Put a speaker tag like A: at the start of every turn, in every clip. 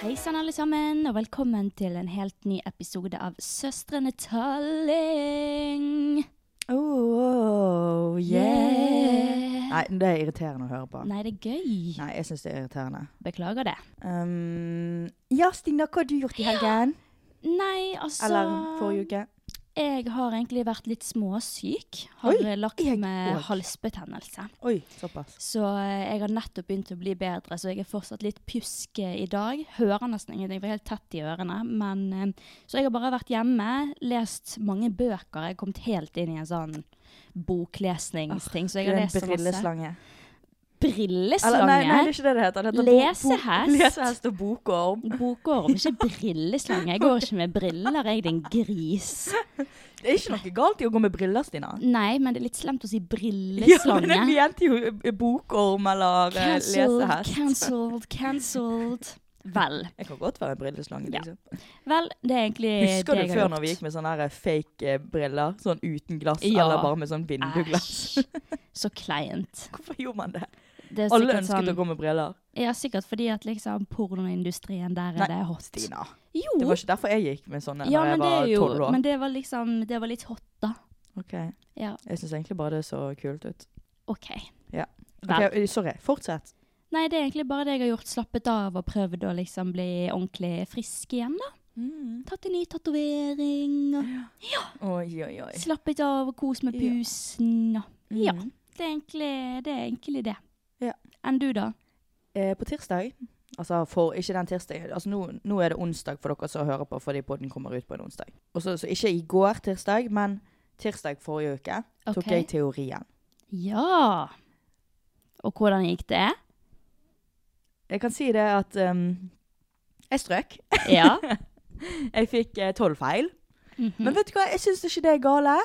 A: Hei sann, alle sammen, og velkommen til en helt ny episode av Søstrene Talling.
B: Oh, yeah.
A: Yeah.
B: Nei, det er irriterende å høre på.
A: Nei, det er gøy.
B: Nei, jeg syns det er irriterende.
A: Beklager det.
B: Um, ja, Stina, hva har du gjort i helgen?
A: Nei, altså
B: Eller forrige uke?
A: Jeg har egentlig vært litt småsyk. Har
B: Oi,
A: lagt
B: jeg
A: med
B: òg.
A: halsbetennelse.
B: Oi, såpass.
A: Så eh, jeg har nettopp begynt å bli bedre, så jeg er fortsatt litt pjuske i dag. Hører nesten ingenting, for jeg var helt tett i ørene. Men, eh, så jeg har bare vært hjemme, lest mange bøker. Jeg har kommet helt inn i en sånn boklesningsting.
B: Du
A: Så jeg
B: er
A: har
B: en
A: lest så masse.
B: brilleslange. Eller,
A: Brilleslange?
B: nei, nei, det er ikke det det heter. Det heter bo- bo-
A: Lesehest.
B: Lesehest og bokorm.
A: Bokorm, ikke brilleslange. Jeg går ikke med briller, jeg, din gris.
B: Det er ikke noe galt i å gå med briller, Stina.
A: Nei, men det er litt slemt å
B: Ja,
A: si
B: men jeg
A: brilleslange.
B: mente jo eh, bokorm eller eh,
A: Cancelled,
B: lesehest.
A: cancelled, cancelled. Vel.
B: Jeg kan godt være en brilleslange.
A: Ja.
B: Liksom.
A: Vel, det er egentlig
B: Husker
A: det
B: du
A: jeg
B: før
A: har
B: når vi
A: gjort.
B: gikk med sånne her fake eh, briller? Sånn uten glass,
A: Ja.
B: eller bare med sånn vinduglass?
A: Æsj. Så kleint.
B: Hvorfor gjorde man det?
A: Det er
B: Alle
A: sikkert
B: ønsket
A: sånn,
B: å gå med briller.
A: Ja, sikkert fordi at liksom pornoindustrien der
B: Nei,
A: er det hot.
B: Stina.
A: Jo.
B: Det var ikke derfor jeg gikk med sånne
A: ja,
B: da jeg
A: men det
B: var
A: er jo,
B: tolv år.
A: men det var liksom Det var litt hot, da.
B: Ok.
A: Ja,
B: Jeg syns egentlig bare det så kult ut.
A: OK.
B: Ja.
A: Vel.
B: Ok, eh, sorry, fortsett.
A: Nei, det er egentlig bare det jeg har gjort. Slappet av og prøvd å liksom bli ordentlig frisk igjen, da. Tatt en ny tatovering og
B: Oi, oi, oi.
A: slappet av og kost med
B: Ja.
A: pusen og Ja.
B: Mhm.
A: Det er egentlig det. Er egentlig det.
B: Ja.
A: Enn du, da?
B: Eh, på tirsdag, altså for ikke den tirsdag, altså nå, nå er det onsdag for dere som hører på fordi podden kommer ut på en onsdag. Og så- så ikke i går tirsdag, men tirsdag forrige uke tok
A: Ok.
B: jeg teorien.
A: Ja! Og hvordan gikk det?
B: Jeg kan si det at ehm, jeg strøk.
A: Ja.
B: Jeg fikk eh, tolv feil.
A: Mhm.
B: Men vet du hva, jeg syns ikke det er gale.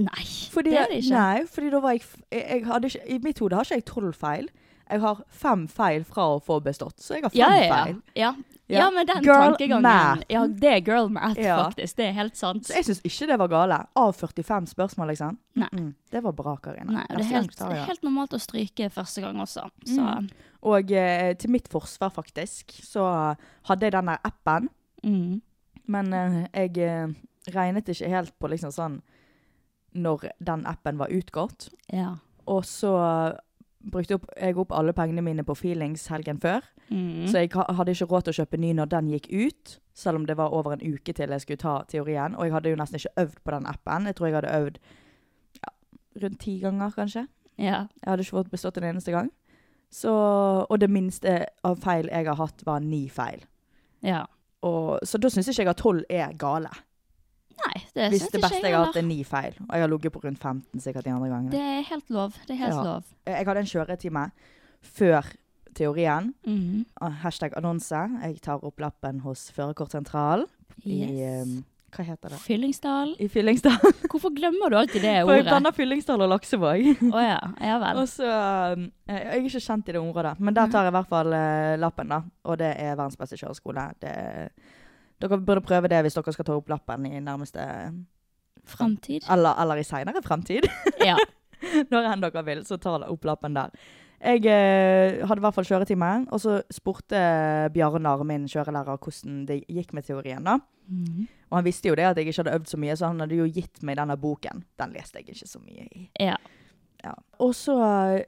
A: Nei,
B: Fordi,
A: det er det ikke.
B: Nei, fordi da var jeg, f- jeg, jeg hadde ikke, I mitt hode har ikke jeg tolv feil. Jeg har fem feil fra å få bestått, så jeg har fem
A: ja, ja, ja.
B: feil.
A: ja.
B: Ja.
A: ja, men den
B: Girl
A: tankegangen
B: math.
A: Ja, det er girl math,
B: Ja.
A: faktisk. Det er helt sant.
B: Så jeg syns ikke det var gale. Av 45 spørsmål, liksom.
A: Nei.
B: Mm, det var bra, Karina.
A: Nei, og det er
B: Neste gang
A: helt,
B: tar jeg det.
A: helt normalt å stryke første gang også. Så mm.
B: Og eh, til mitt forsvar, faktisk, så hadde jeg den der appen,
A: Mm.
B: men eh, jeg eh, regnet ikke helt på liksom sånn når den appen var utgått.
A: Ja.
B: Og så brukte opp, jeg opp alle pengene mine på feelings helgen før.
A: Mm.
B: Så jeg ha- hadde ikke råd til å kjøpe ny når den gikk ut, selv om det var over en uke til jeg skulle ta teorien. Og jeg hadde jo nesten ikke øvd på den appen. Jeg tror jeg hadde øvd ja, rundt ti ganger, kanskje.
A: ja.
B: Jeg hadde ikke fått bestått en eneste gang. Så, og det minste av feil jeg har hatt, var ni feil.
A: Ja.
B: Og, så da syns ikke jeg at tolv er gale.
A: Nei, Det
B: Hvis
A: syns
B: det
A: ikke
B: beste jeg har hatt, er ni feil. Og jeg har ligget på rundt 15 sikkert de andre gangene.
A: Det er helt lov. Det er helt
B: Ja.
A: lov.
B: Jeg hadde en kjøretime før teorien.
A: Mhm.
B: Ah, Hashtag annonse. Jeg tar opp lappen hos førerkortsentralen
A: Yes.
B: i eh, Hva heter det?
A: Fyllingsdal.
B: I Fyllingsdal.
A: Hvorfor glemmer du alltid det
B: For jeg
A: ordet?
B: blander Fyllingsdal og Laksevåg.
A: Å ja. Ja vel.
B: Og så um, Jeg er ikke kjent i det området, men der tar jeg i hvert fall eh, lappen, da. Og det er verdens beste kjøreskole. Det, dere burde prøve det hvis dere skal ta opp lappen i nærmeste
A: Framtid.
B: Eller, eller i seinere fremtid.
A: Ja.
B: Når enn dere vil, så tar dere opp lappen der. Jeg eh, hadde i hvert fall kjøretime, og så spurte Bjarnar, min kjørelærer, hvordan det gikk med teorien, da.
A: Mhm.
B: Og han visste jo det at jeg ikke hadde øvd så mye, så han hadde jo gitt meg denne boken. Den leste jeg ikke så mye i.
A: Ja.
B: Ja. Og så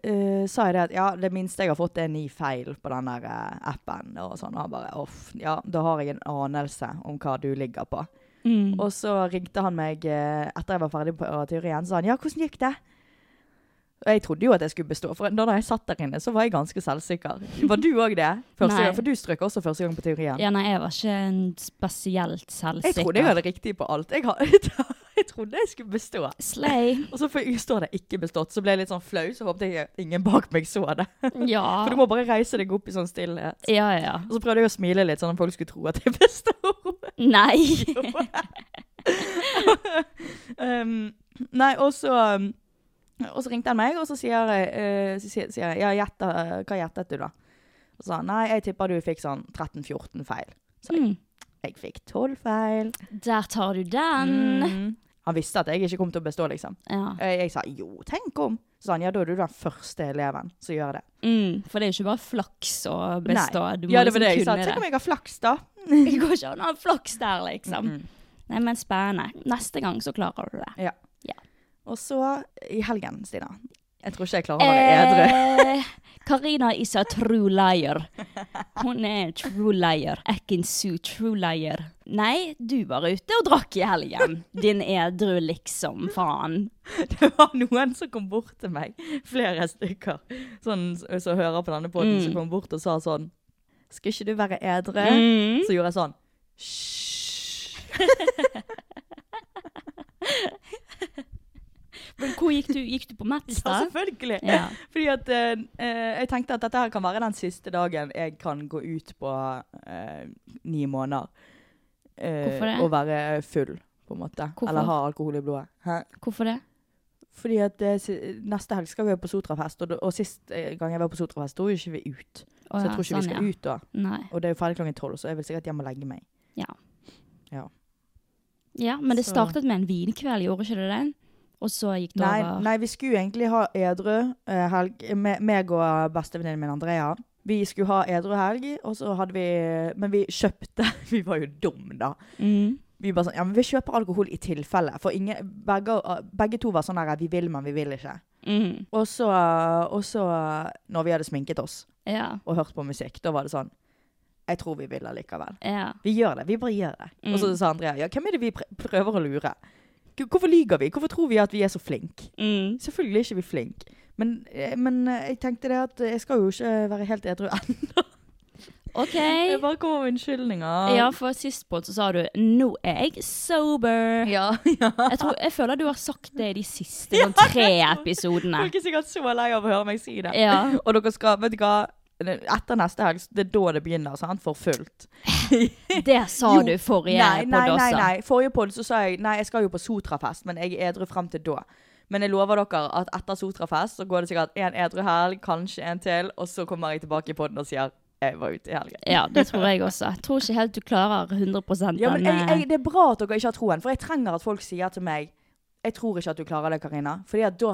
B: eh, sa jeg det at ja, det minste jeg har fått, er ni feil på den der eh, appen. Og sånn. Og han bare off. Ja, da har jeg en anelse om hva du ligger på.
A: Mm.
B: Og så ringte han meg eh, etter jeg var ferdig på teorien, sa han ja, hvordan gikk det? Og jeg trodde jo at jeg skulle bestå, for da jeg satt der inne, så var jeg ganske selvsikker. Var du òg det? Første
A: Nei.
B: gang, for du strøk også første gang på teorien.
A: Ja, nei, jeg var ikke en spesielt
B: Jeg
A: selvsikker.
B: trodde jeg hadde riktig på alt. Jeg, har, jeg trodde jeg skulle bestå.
A: Slay.
B: Og så får- står det 'ikke bestått', så ble jeg litt sånn flau, så håpte jeg ingen bak meg så det.
A: Ja.
B: For du må bare reise deg opp i sånn stillhet.
A: Ja, ja.
B: Og så prøvde jeg å smile litt, sånn at folk skulle tro at jeg består.
A: Nei.
B: um, nei, og så um, Og så ringte han meg, og så sier jeg, eh, så sier, sier jeg ja, gjetta- hva gjettet du, da? Og så sa han nei, jeg tipper du fikk sånn 13-14 feil.
A: Mm.
B: Jeg fikk 12 feil.
A: Der tar du den.
B: Mm. Han visste at jeg ikke kom til å bestå, liksom.
A: Ja.
B: Eh, Jeg sa jo, tenk om. Så sa han, ja, da er du den første eleven som gjør det.
A: Mm. For det er jo ikke bare flaks å bestå. Du må
B: ja, det var det
A: liksom
B: jeg sa.
A: kunne
B: Tenk om jeg har flaks, da.
A: det. Det går ikke an å ha flaks der, liksom.
B: Mm.
A: Nei, men spennende. Neste gang så klarer du det.
B: Og så i helgen, Stina. Jeg tror ikke jeg klarer å være edru.
A: Eh, Karina is a true liar. Hun er en true liar. Ekinsu, true liar. Nei, du var ute og drakk i helgen. Din edru liksom, faen.
B: Det var noen som kom bort til meg, flere stykker, sånn, som hører på denne podden, som kom bort og sa sånn Skal ikke du være edru?
A: Mm.
B: Så gjorde jeg sånn. Hysj.
A: Men hvor gikk du? Gikk du på
B: Ja,
A: Metstad?
B: selvfølgelig.
A: Ja.
B: Fordi at eh, eh, jeg tenkte at dette her kan være den siste dagen jeg kan gå ut på eh, ni måneder. Eh,
A: Hvorfor det?
B: Og være full, på en måte.
A: Hvorfor?
B: Eller ha alkohol i blodet. Hæ?
A: Hvorfor det?
B: Fordi at eh, si- neste helg skal vi på Sotrafest, og, da- og sist eh, gang jeg var på Sotrafest, da var jo ikke vi ut.
A: Å
B: så jeg
A: ja,
B: tror ikke
A: sånn,
B: vi skal
A: ja.
B: ut da.
A: Nei.
B: Og det er jo ferdig klokken tolv, så jeg vil sikkert hjem og legge meg.
A: Ja, men det
B: Så-
A: startet med en vinkveld, gjorde ikke det det? Og så gikk det
B: Nei,
A: over.
B: nei, vi skulle egentlig ha edru eh, helg. Me- Meg og eh, bestevenninnen min Andrea. Vi skulle ha edru helg, og så hadde vi Men vi kjøpte Vi var jo dum, da.
A: Mm.
B: Vi bare sånn, ja, men vi kjøper alkohol i tilfelle. For ingen, begge, begge to var sånn der, vi vil, men vi vil ikke.
A: Mm.
B: Og så, og så, når vi hadde sminket oss
A: Ja.
B: og hørt på musikk, da var det sånn, jeg tror vi vil allikevel.
A: Ja.
B: Vi gjør det, vi bare gjør det.
A: Mm.
B: Og så sa Andrea, ja, hvem er det vi pr- prøver å lure? K- Hvorfor lyger vi? Hvorfor tror vi at vi er så flink?
A: Mm.
B: Selvfølgelig er ikke vi flink. Men, eh, men eh, jeg tenkte det at jeg skal jo ikke eh, være helt edru ennå.
A: OK.
B: Jeg bare kommer med unnskyldninger.
A: Ja, for sist på så sa du 'nå er jeg sober'.
B: ja, ja.
A: Jeg, tror, jeg føler du har sagt det de siste sånn, tre episodene.
B: Folk er sikkert så lei av å høre meg si det.
A: Ja.
B: Og dere skal, vet du hva, etter neste helg, det er da det begynner, sant, for fullt.
A: Det sa
B: Jo.
A: du forrige
B: Nei, nei,
A: podd
B: nei,
A: også.
B: nei. Forrige podd så sa jeg, nei, jeg skal jo på Sotrafest, men jeg er edru frem til da. Men jeg lover dere at etter Sotrafest så går det sikkert en edru helg, kanskje en til, og så kommer jeg tilbake i podden og sier, jeg var ute i helgen.
A: Ja, det tror jeg også. Jeg tror ikke helt du klarer 100
B: Ja, men jeg,
A: denne-
B: jeg, det er bra at dere ikke har troen, for jeg trenger at folk sier til meg, jeg tror ikke at du klarer det, Karina. Fordi at da,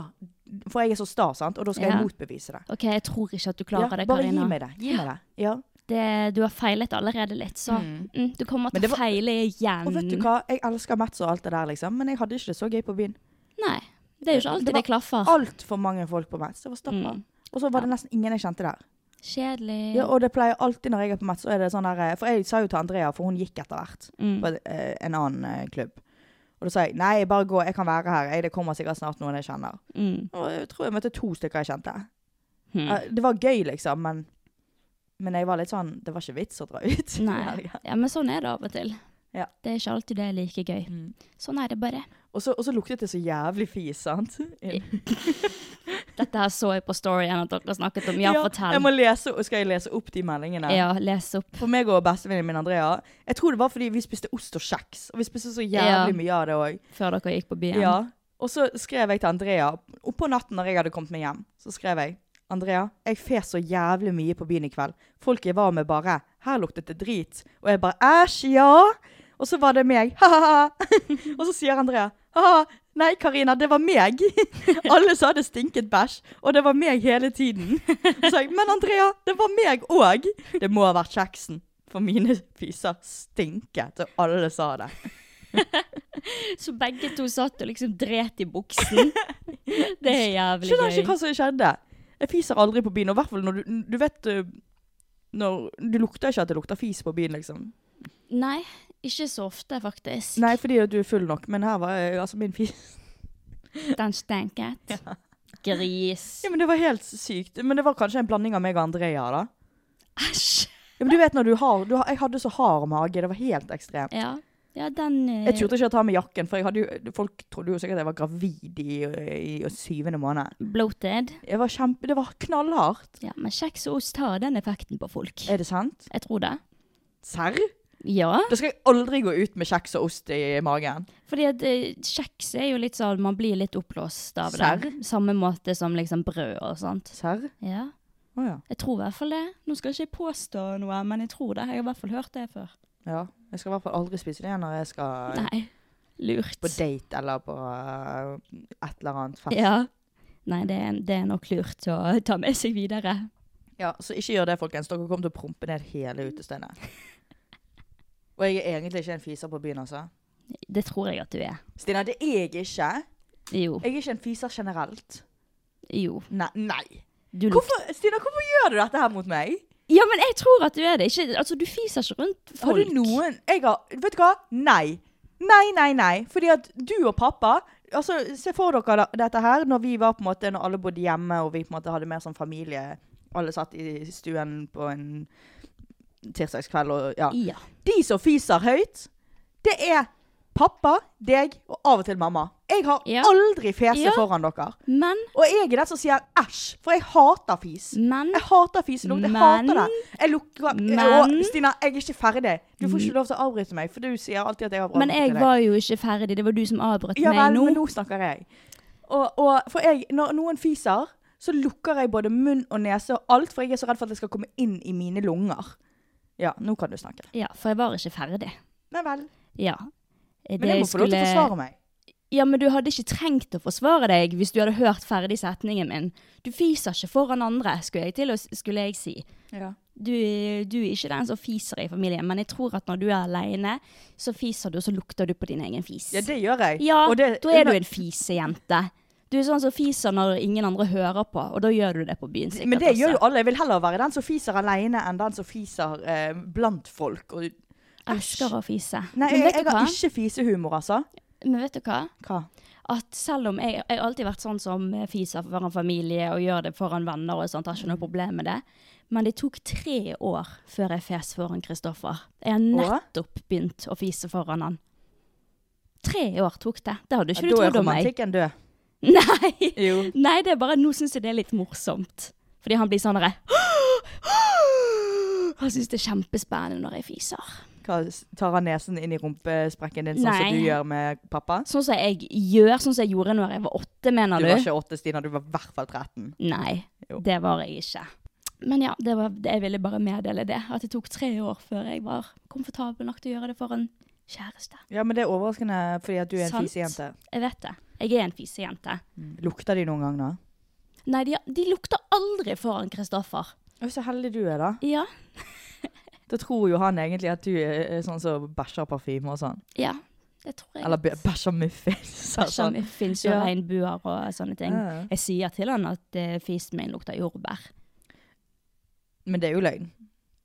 B: for jeg er så star, sant, og da skal
A: Ja.
B: jeg motbevise det.
A: OK, jeg tror ikke at du klarer
B: ja,
A: det,
B: bare
A: Karina.
B: gi meg det, gi meg det. Ja.
A: det, du har feilet allerede litt, så mm. du kommer
B: Men det
A: til å
B: var-
A: feile igjen.
B: Og vet du hva, jeg elsker Mats og alt det der, liksom, men jeg hadde ikke det så gøy på byen.
A: Nei, det er jo ikke alltid
B: Eh, Det
A: det,
B: var
A: klaffer.
B: Altfor mange folk på Mats. Det var stappa.
A: Mm.
B: Og så var det nesten ingen jeg kjente der.
A: Kjedelig.
B: Ja, og det pleier alltid når jeg er på Mats, så er det sånn der For jeg sa jo til Andrea, for hun gikk etter hvert
A: Mm.
B: på eh, en annen eh, klubb. Og da sa jeg nei, bare gå, jeg kan være her. Jeg, det kommer sikkert snart noen jeg kjenner.
A: mm.
B: Og jeg tror jeg møtte to stykker jeg kjente.
A: Hmm.
B: Eh, Det var gøy, liksom, men men jeg var litt sånn Det var ikke vits å dra ut. i
A: Nei.
B: helgen.
A: Ja, men sånn er det av og til.
B: Ja.
A: Det er ikke alltid det er like gøy.
B: Mm.
A: Sånn er det bare.
B: Og så og så luktet det så jævlig fis, sant? Inn.
A: Dette her så jeg på storyen at dere snakket om. Ja, fortell.
B: Jeg må lese, og skal jeg lese opp de meldingene?
A: Ja, les opp.
B: For meg og bestevennen min Andrea Jeg tror det var fordi vi spiste ost og kjeks. Og vi spiste så jævlig
A: Ja.
B: mye av det òg.
A: Før dere gikk på byen.
B: Ja. Og så skrev jeg til Andrea oppå natten når jeg hadde kommet meg hjem. Så skrev jeg Andrea, jeg fes så jævlig mye på byen i kveld. Folk jeg var med, bare Her luktet det drit. Og jeg bare Æsj, ja. Og så var det meg. Ha-ha. og så sier Andrea ha-ha. Nei, Karina, det var meg. Alle sa det stinket bæsj, og det var meg hele tiden. Så jeg, Men Andrea, det var meg òg. Det må ha vært kjeksen. For mine fiser stinket, og alle sa det.
A: Så begge to satt og liksom dret i buksen. Det er jævlig
B: Skjønner ikke
A: gøy.
B: hva som skjedde. Jeg fiser aldri på byen, og i hvert fall når du, du vet uh, når, Du lukter ikke at det lukter fis på byen, liksom.
A: Nei, ikke så ofte, faktisk.
B: Nei, fordi at du er full nok, men her var uh, altså min fis
A: Den stenket. Gris.
B: Ja, men Det var helt sykt. Men det var kanskje en blanding av meg og Andrea, da.
A: Æsj.
B: Ja, men du vet når du har, du har Jeg hadde så hard mage, det var helt ekstremt.
A: Ja. ja, den eh,
B: Jeg turte ikke å ta med jakken, for jeg hadde jo, folk trodde jo sikkert jeg var gravid i, i, i syvende måned.
A: bloated.
B: Jeg var kjempe, Det var knallhardt.
A: Ja, men kjeks og ost har den effekten på folk.
B: Er det sant?
A: Jeg tror det.
B: Serr?
A: Ja.
B: Da skal jeg aldri gå ut med kjeks og ost i magen.
A: Fordi at eh, kjeks er jo litt sånn Man blir litt oppblåst av det.
B: Serr?
A: Samme måte som liksom brød og sånt.
B: Serr?
A: Ja.
B: Å ja.
A: Jeg tror i hvert fall det. Nå skal ikke jeg påstå noe, men jeg tror det. Jeg har i hvert fall hørt det før.
B: Ja, jeg skal i hvert fall aldri spise det når jeg skal
A: Nei. Lurt.
B: på date eller på øh, et eller annet fest.
A: Ja. Nei, det er, det er nok lurt å ta med seg videre.
B: Ja, så ikke gjør det, folkens. Dere kommer til å prompe ned hele utestedet. Og jeg er egentlig ikke en fiser på byen, altså.
A: Det tror jeg at du er.
B: Stina, det er jeg ikke.
A: Jo.
B: Jeg er ikke en fiser generelt.
A: Jo.
B: Nei. nei.
A: Du lukter
B: Hvorfor, Stina, hvorfor gjør du dette her mot meg?
A: Ja, men jeg tror at du er det. Ikke, altså, du fiser ikke rundt folk.
B: Har du noen jeg har, Vet du hva? Nei. Nei, nei, nei. Fordi at du og pappa altså, Se for dere da- dette her når vi var på en måte, når alle bodde hjemme og vi på en måte hadde mer sånn familie. Alle satt i stuen på en tirsdagskveld og ja.
A: Ja.
B: De som fiser høyt, det er pappa, deg og av og til mamma. Jeg har
A: Ja.
B: aldri fese
A: Ja.
B: foran dere.
A: Men,
B: Og jeg er den som sier æsj, for jeg hater fis.
A: men
B: Jeg hater fiselukt. Jeg
A: Men-
B: hater det. Jeg lukker
A: Men- Mm.
B: Å, Stina, jeg er ikke ferdig. Du får ikke lov til å avbryte meg, for du sier alltid at jeg avbryter
A: Men jeg
B: deg.
A: var jo ikke ferdig. Det var du som avbrøt
B: ja,
A: meg
B: vel,
A: nå.
B: men nå snakker jeg. Og, og for jeg, når noen fiser, så lukker jeg både munn og nese og alt, for jeg er så redd for at det skal komme inn i mine lunger. Ja, nå kan du snakke.
A: Ja, for jeg var ikke ferdig.
B: Nei vel.
A: Ja.
B: Men jeg må få lov til å forsvare meg.
A: Ja, men du hadde ikke trengt å forsvare deg hvis du hadde hørt ferdig setningen min. Du fiser ikke foran andre, skulle jeg til å s- skulle jeg si.
B: Ja.
A: Du, du er ikke den som fiser i familien, men jeg tror at når du er aleine, så fiser du, og så lukter du på din egen fis.
B: det gjør jeg.
A: Ja,
B: Og det-
A: da er du en fisejente. Du er sånn som fiser når ingen andre hører på, og da gjør du det på byen sikkert
B: Men det
A: også.
B: gjør jo alle. Jeg vil heller være den som fiser alene, enn den som fiser eh, blant folk. Og,
A: Elsker å fise.
B: nei,
A: men,
B: jeg,
A: vet
B: jeg
A: du hva?
B: har ikke fisehumor, altså.
A: men vet du hva?
B: Hva?
A: At selv om jeg, jeg har alltid vært sånn som fiser foran familie og gjør det foran venner og sånt, har
B: Mm.
A: ikke noe problem med det. Men det tok tre år før jeg fes foran Kristoffer. Jeg har
B: Åh?
A: nettopp begynt å fise foran han. Tre år tok det. Det hadde
B: Ja,
A: ikke du trodd om meg.
B: romantikken død.
A: Nei.
B: Jo.
A: Nei, det er bare Nå syns jeg det er litt morsomt. Fordi han blir sånn derre Han syns det er kjempespennende når jeg fiser.
B: Hva, s- tar han nesen inn i rumpesprekken din, sånn
A: Nei.
B: som du gjør med pappa?
A: Sånn som jeg gjør, sånn som jeg gjorde når jeg var åtte, mener
B: Du
A: du?
B: var ikke åtte, Stina. Du var i hvert fall 13.
A: Nei,
B: Jo.
A: det var jeg ikke. Men ja, det var, det- jeg ville bare meddele det. At det tok tre år før jeg var komfortabel nok til å gjøre det for en kjæreste.
B: Ja, men det er overraskende fordi at du er en
A: Sant.
B: fisejente.
A: Jeg vet det. Jeg er en fisejente.
B: Lukter de noen gang, da?
A: Nei, de, de lukter aldri foran Kristoffer.
B: Oi, så heldig du er, da.
A: Ja.
B: Da tror jo han egentlig at du er er sånn som bæsjer parfyme og sånn.
A: Ja, det tror jeg.
B: Eller bæ- bæsjer muffins. og
A: Som
B: sånn.
A: finnes jo
B: Ja.
A: regnbuer og sånne ting.
B: Ja, ja.
A: Jeg sier til han at eh, fisen min lukter jordbær.
B: Men det er jo løgn.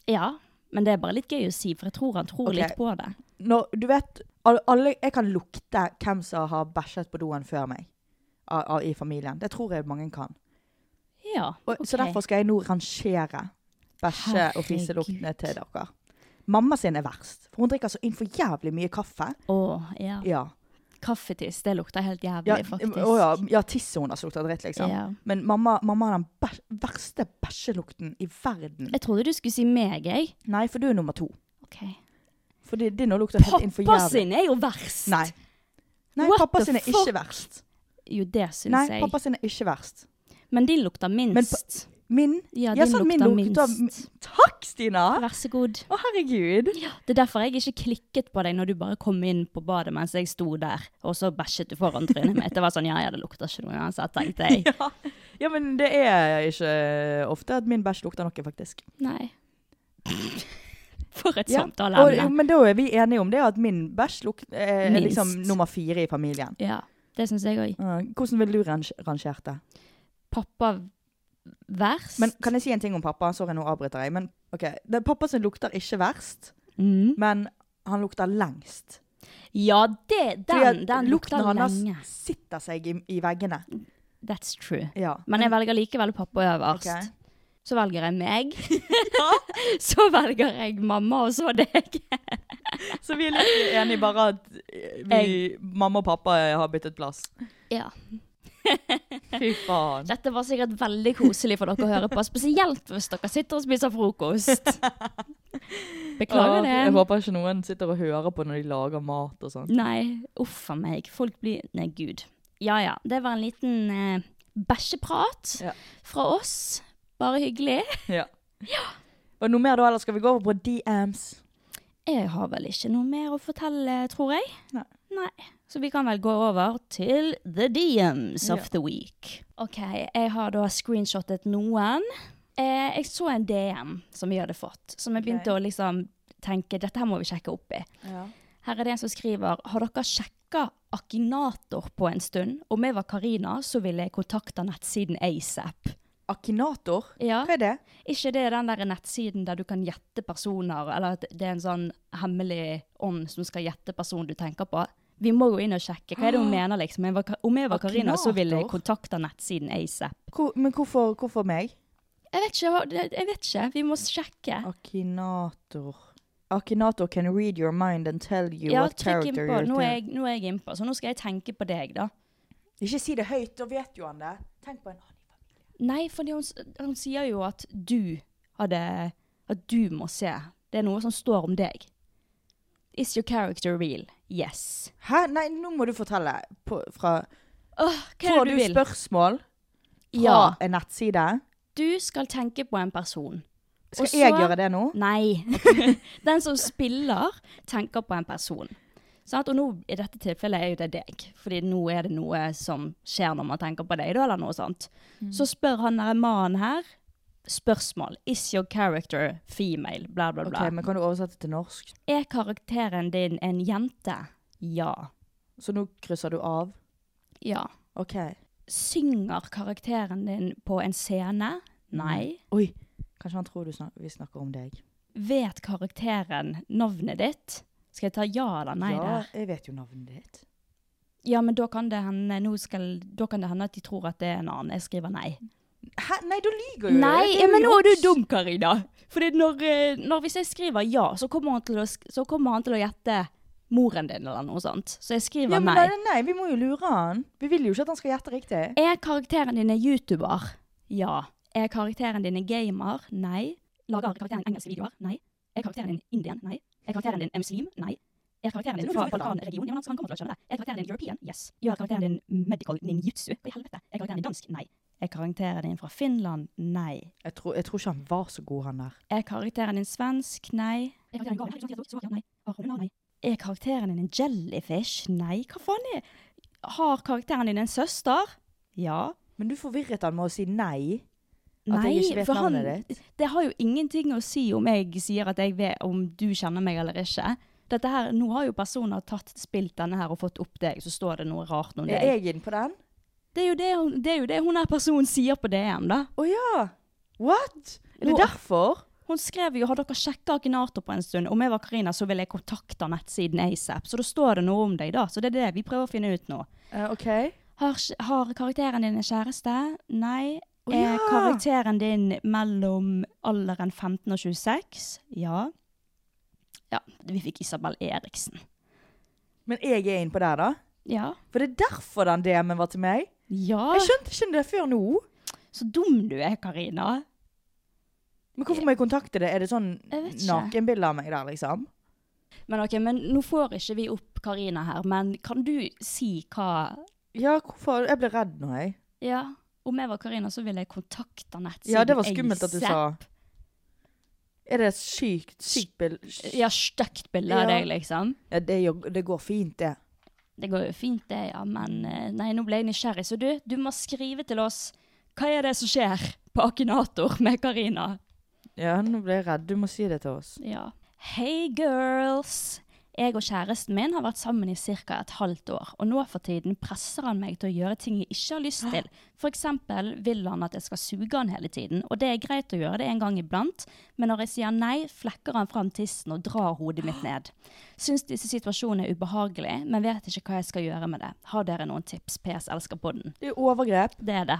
A: Ja, men det er bare litt gøy å si, for jeg tror han tror
B: Ok.
A: litt på det.
B: når, du vet, al- alle, jeg kan lukte hvem som har bæsjet på doen før meg av, av, i familien. Det tror jeg mange kan.
A: Ja,
B: Og, Så
A: ok.
B: derfor skal jeg nå rangere bæsje- og
A: Herregud.
B: fiseluktene til dere. Mamma sin er verst, for hun drikker så innenfor jævlig mye kaffe.
A: Å, ja.
B: Ja.
A: Kaffetiss, det lukter helt jævlig,
B: Ja,
A: faktisk.
B: å ja, ja tisset hennes lukter dritt, liksom.
A: Ja.
B: Men mamma, mamma har den bæs- verste bæsjelukten i verden.
A: Jeg trodde du skulle si meg, jeg.
B: Nei, for du er nummer to.
A: Ok.
B: Fordi din nå lukter helt innenfor
A: Pappa
B: jævlig.
A: sin er jo verst!
B: Nei. Nei,
A: What
B: pappa
A: the
B: sin er
A: fuck?
B: ikke verst.
A: Jo, det syns
B: Nei,
A: jeg.
B: pappa sin er ikke verst.
A: Men din lukter
B: pa-
A: minst.
B: Min?
A: ja,
B: Jeg
A: din
B: sa
A: lukter
B: min lukter
A: minst.
B: Takk, Stina!
A: Vær så god.
B: Å, herregud.
A: Det er derfor jeg ikke klikket på deg når du bare kom inn på badet mens jeg sto der, og så bæsjet du foran trynet mitt. Det var sånn ja ja, det lukter ikke noe uansett, tenkte jeg.
B: Ja. ja, men det er ikke eh, ofte at min bæsj lukter noe, faktisk.
A: Nei. For et
B: Ja. Og, um,
A: samtaleemne.
B: men da er vi enige om det at min bæsj luk- eh, er
A: Minst.
B: liksom nummer fire i familien.
A: Ja, det syns jeg òg.
B: Eh, hvordan ville du range- rangert det?
A: Pappa verst.
B: Men Kan jeg si en ting om pappa? Sorry, nå avbryter jeg. Men ok, det, Pappa sin lukter ikke verst,
A: mm.
B: men han lukter lengst.
A: Ja, det,
B: Fordi at
A: den, den lukter
B: lukten hans
A: lenge.
B: sitter seg i, i veggene.
A: That's true.
B: Ja.
A: Men jeg velger likevel pappa øverst.
B: Ok.
A: Så velger jeg meg. så velger jeg mamma, og så deg.
B: Så vi er litt enige bare at eh, vi, mamma og pappa eh, har byttet plass.
A: Ja.
B: Fy faen.
A: Dette var sikkert veldig koselig for dere å høre på, spesielt hvis dere sitter og spiser frokost. Beklager
B: Åh, Jeg
A: det.
B: håper ikke noen sitter og hører på når de lager mat og sånn.
A: Nei, uff a meg. Folk blir Nei, gud. Ja ja. Det var en liten eh, bæsjeprat
B: Ja.
A: fra oss. Bare hyggelig.
B: Ja. Og noe mer da, eller skal vi gå over på DMs?
A: Jeg har vel ikke noe mer å fortelle, tror jeg.
B: Nei.
A: Så vi kan vel gå over til the DMs of
B: Ja.
A: the week. Ok, jeg har da screenshottet noen. Eh, jeg så en DM som vi hadde fått, som jeg begynte
B: Ok.
A: å liksom tenke, dette her må vi sjekke opp i. Her er det en som skriver, har dere sjekket Akinator på en stund? Om jeg var Karina, så ville jeg kontakte nettsiden ASAP.
B: Akinator?
A: Ja.
B: Hva er det?
A: Ikke det den der nettsiden der du kan gjette personer, eller at det er en sånn hemmelig ånd som skal gjette personen du tenker på. Vi må gå inn og sjekke. Hva er det hun mener, liksom? Jeg var- Om jeg var Karina, så ville jeg
B: Akinator?
A: kontakta nettsiden ASAP.
B: Hvor, men hvorfor, hvorfor meg?
A: Jeg vet ikke, hva- det- jeg vet ikke. Vi må sjekke.
B: Akinator. Akinator can read your mind and tell you
A: Ja,
B: what
A: trykk
B: character you're
A: innpå. Nå er
B: doing.
A: jeg, nå er jeg innpå, så nå skal jeg tenke på deg, da.
B: Ikke si det høyt, da vet jo han det. Tenk på en annen.
A: Nei, for hun, s- hun sier jo at du hadde At du må se. Det er noe som står om deg. Is your character real? Yes.
B: Hæ? Nei, nå må du fortelle. På, fra,
A: Åh, hva er
B: får du,
A: det du vil?
B: spørsmål fra
A: Ja.
B: en nettside?
A: Du skal tenke på en person.
B: Skal
A: Og så-
B: jeg gjøre det nå?
A: Nei. Den som spiller, tenker på en person. Sant? Og nå, i dette tilfellet er jo det deg, fordi nå er det noe som skjer når man tenker på deg, da, eller noe sånt. Så spør han der mannen her spørsmål. Is your character female? Bla, bla,
B: Ok,
A: bla.
B: men Kan du oversette til norsk?
A: Er karakteren din en jente? Ja.
B: Så nå krysser du av?
A: Ja.
B: OK.
A: Synger karakteren din på en scene? Nei.
B: Oi, kanskje han tror du snak vi snakker om deg.
A: Vet karakteren navnet ditt? Skal jeg ta ja eller nei
B: ja,
A: der?
B: jeg vet jo navnet ditt.
A: Ja, men da kan, det hende, nå skal, da kan det hende at de tror at det er en annen. Jeg skriver nei.
B: Hæ? Nei, da lyver jo
A: Nei,
B: Det
A: ja,
B: jo
A: men nå er du
B: juks.
A: dum, Karina. Fordi når, eh, når hvis jeg skriver ja, så kommer han til å, sk- så kommer han til å gjette moren din eller noe sånt. Så jeg skriver
B: Ja, men
A: nei.
B: nei, nei, vi må jo lure han. Vi vil jo ikke at han skal gjette riktig.
A: Er karakteren din en YouTuber? Ja. Er karakteren din en gamer? Nei. Lager karakteren engelske videoer? Nei. Er karakteren din indian? Nei. Er karakteren din en muslim? Nei. Er karakteren din fra Balkan-regionen? Ja, men han kommer til å skjønne det. Er karakteren din european? Yes. Gjør karakteren din medical ninjutsu? Hva i helvete? Er karakteren din dansk? Nei. Er karakteren din fra Finland? Nei.
B: Jeg tror, jeg tror ikke han var så god, han der.
A: Er karakteren din svensk? Nei. Er karakteren din gal? Svar ja, nei. Har hun nei? Er karakteren din en jellyfish? Nei, hva faen er Har karakteren din en søster? Ja.
B: Men du forvirret han med å si nei. At jeg ikke
A: Nei,
B: vet
A: for han,
B: navnet ditt?
A: det har jo ingenting å si om jeg sier at jeg vet om du kjenner meg eller ikke. Dette her, Nå har jo personer tatt spilt denne her og fått opp deg, så står det noe rart om
B: Er
A: deg.
B: jeg inne på den?
A: Det er jo det, hun- det, er jo det hun her personen sier på DM, da.
B: Å ja! What? Er det
A: Jo.
B: derfor?
A: Hun skrev jo 'Har dere sjekka Akinator på en stund?' Om jeg var Karina, så ville jeg kontakte nettsiden ASAP. Så da står det noe om deg, da. Så det er det vi prøver å finne ut nå.
B: Eh, OK.
A: Har, har karakteren din en kjæreste? Nei.
B: Å,
A: Er
B: ja.
A: karakteren din mellom alderen 15 og 26? Ja. Ja, vi fikk Isabel Eriksen.
B: Men jeg er innpå der, da.
A: Ja.
B: For det er derfor den DM-en var til meg.
A: Ja,
B: Jeg skjønte ikke det før nå.
A: så dum du er, Karina.
B: Men hvorfor må jeg kontakte det? Er det sånn
A: Jeg vet ikke.
B: nakenbilder av meg der, liksom?
A: Men ok, men nå får ikke vi opp Karina her, men kan du si hva
B: Ja, hvorfor? Jeg ble redd nå, jeg.
A: Ja, om jeg var Karina, så ville jeg kontakta nettsiden
B: Ja, det var skummelt at du
A: ASAP.
B: sa Er det et sykt, sykt bilde?
A: Ja, stygt bilde av
B: Ja.
A: deg, liksom.
B: Ja, det, er jo- det går fint, det.
A: Det går jo fint, det, ja, men eh, Nei, nå ble jeg nysgjerrig, så du, du må skrive til oss. Hva er det som skjer på Akinator med Karina?
B: Ja, nå ble jeg redd. Du må si det til oss.
A: Ja. Hei, girls! Jeg og kjæresten min har vært sammen i ca. et halvt år, og nå for tiden presser han meg til å gjøre ting jeg ikke har lyst til. F.eks. vil han at jeg skal suge han hele tiden, og det er greit å gjøre det en gang iblant, men når jeg sier nei, flekker han fram tissen og drar hodet mitt ned. Syns disse situasjonene er ubehagelig, men vet ikke hva jeg skal gjøre med det. Har dere noen tips? PS elsker podden.
B: Det er overgrep.
A: Det er det.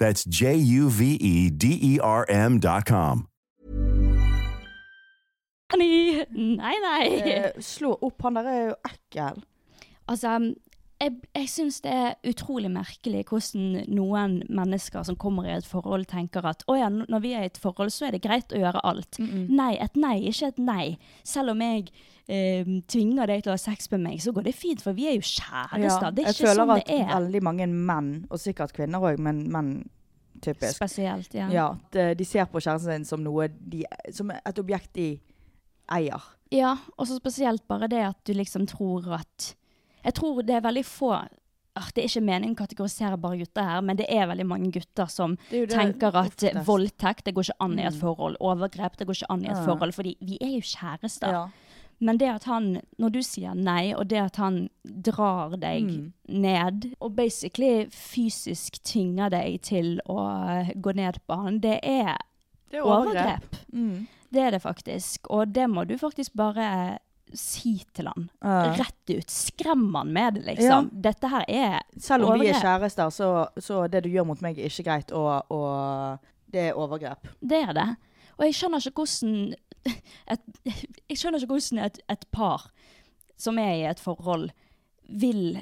C: That's J U V E D E R M.com.
A: Nei, nei.
B: Eh, slå opp. Han der er jo ekkel.
A: Altså, jeg, jeg syns det er utrolig merkelig hvordan noen mennesker som kommer i et forhold, tenker at å ja, n- når vi er i et forhold, så er det greit å gjøre alt. Nei, et nei, er ikke et nei. Selv om jeg eh, tvinger deg til å ha sex med meg, så går det fint, for vi er jo kjærester. det er
B: jeg
A: ikke
B: føler
A: sånn
B: at
A: det er.
B: veldig mange menn, og sikkert kvinner òg, men menn typisk
A: Spesielt, ja.
B: Ja, at eh, de ser på kjæresten sin som noe de, Som et objekt de eier.
A: Ja, og så spesielt bare det at du liksom tror at Jeg tror det er veldig få ah, Det er ikke meningen å kategorisere bare gutter her, men det er veldig mange gutter som
B: Det er jo det
A: tenker at eh,
B: oftest. Mm.
A: voldtekt det går ikke an i et forhold, overgrep det går ikke an i et forhold, fordi vi er jo kjærester. Men det at han, når du sier nei, og det at han drar deg
B: Mm.
A: ned, og basically fysisk tvinger deg til å eh, gå ned på han, det er
B: Det
A: overgrep.
B: Mm.
A: Det er det faktisk. Og det må du faktisk bare si til han.
B: Eh,
A: Rett ut. Skrem han med det, liksom. Dette her er
B: Selv om vi er
A: overgrep.
B: kjærester, så, så det du gjør mot meg, er ikke greit, og, og det er overgrep.
A: Det er det. Og jeg skjønner ikke hvordan et, Jeg skjønner ikke hvordan et, et par som er i et forhold, vil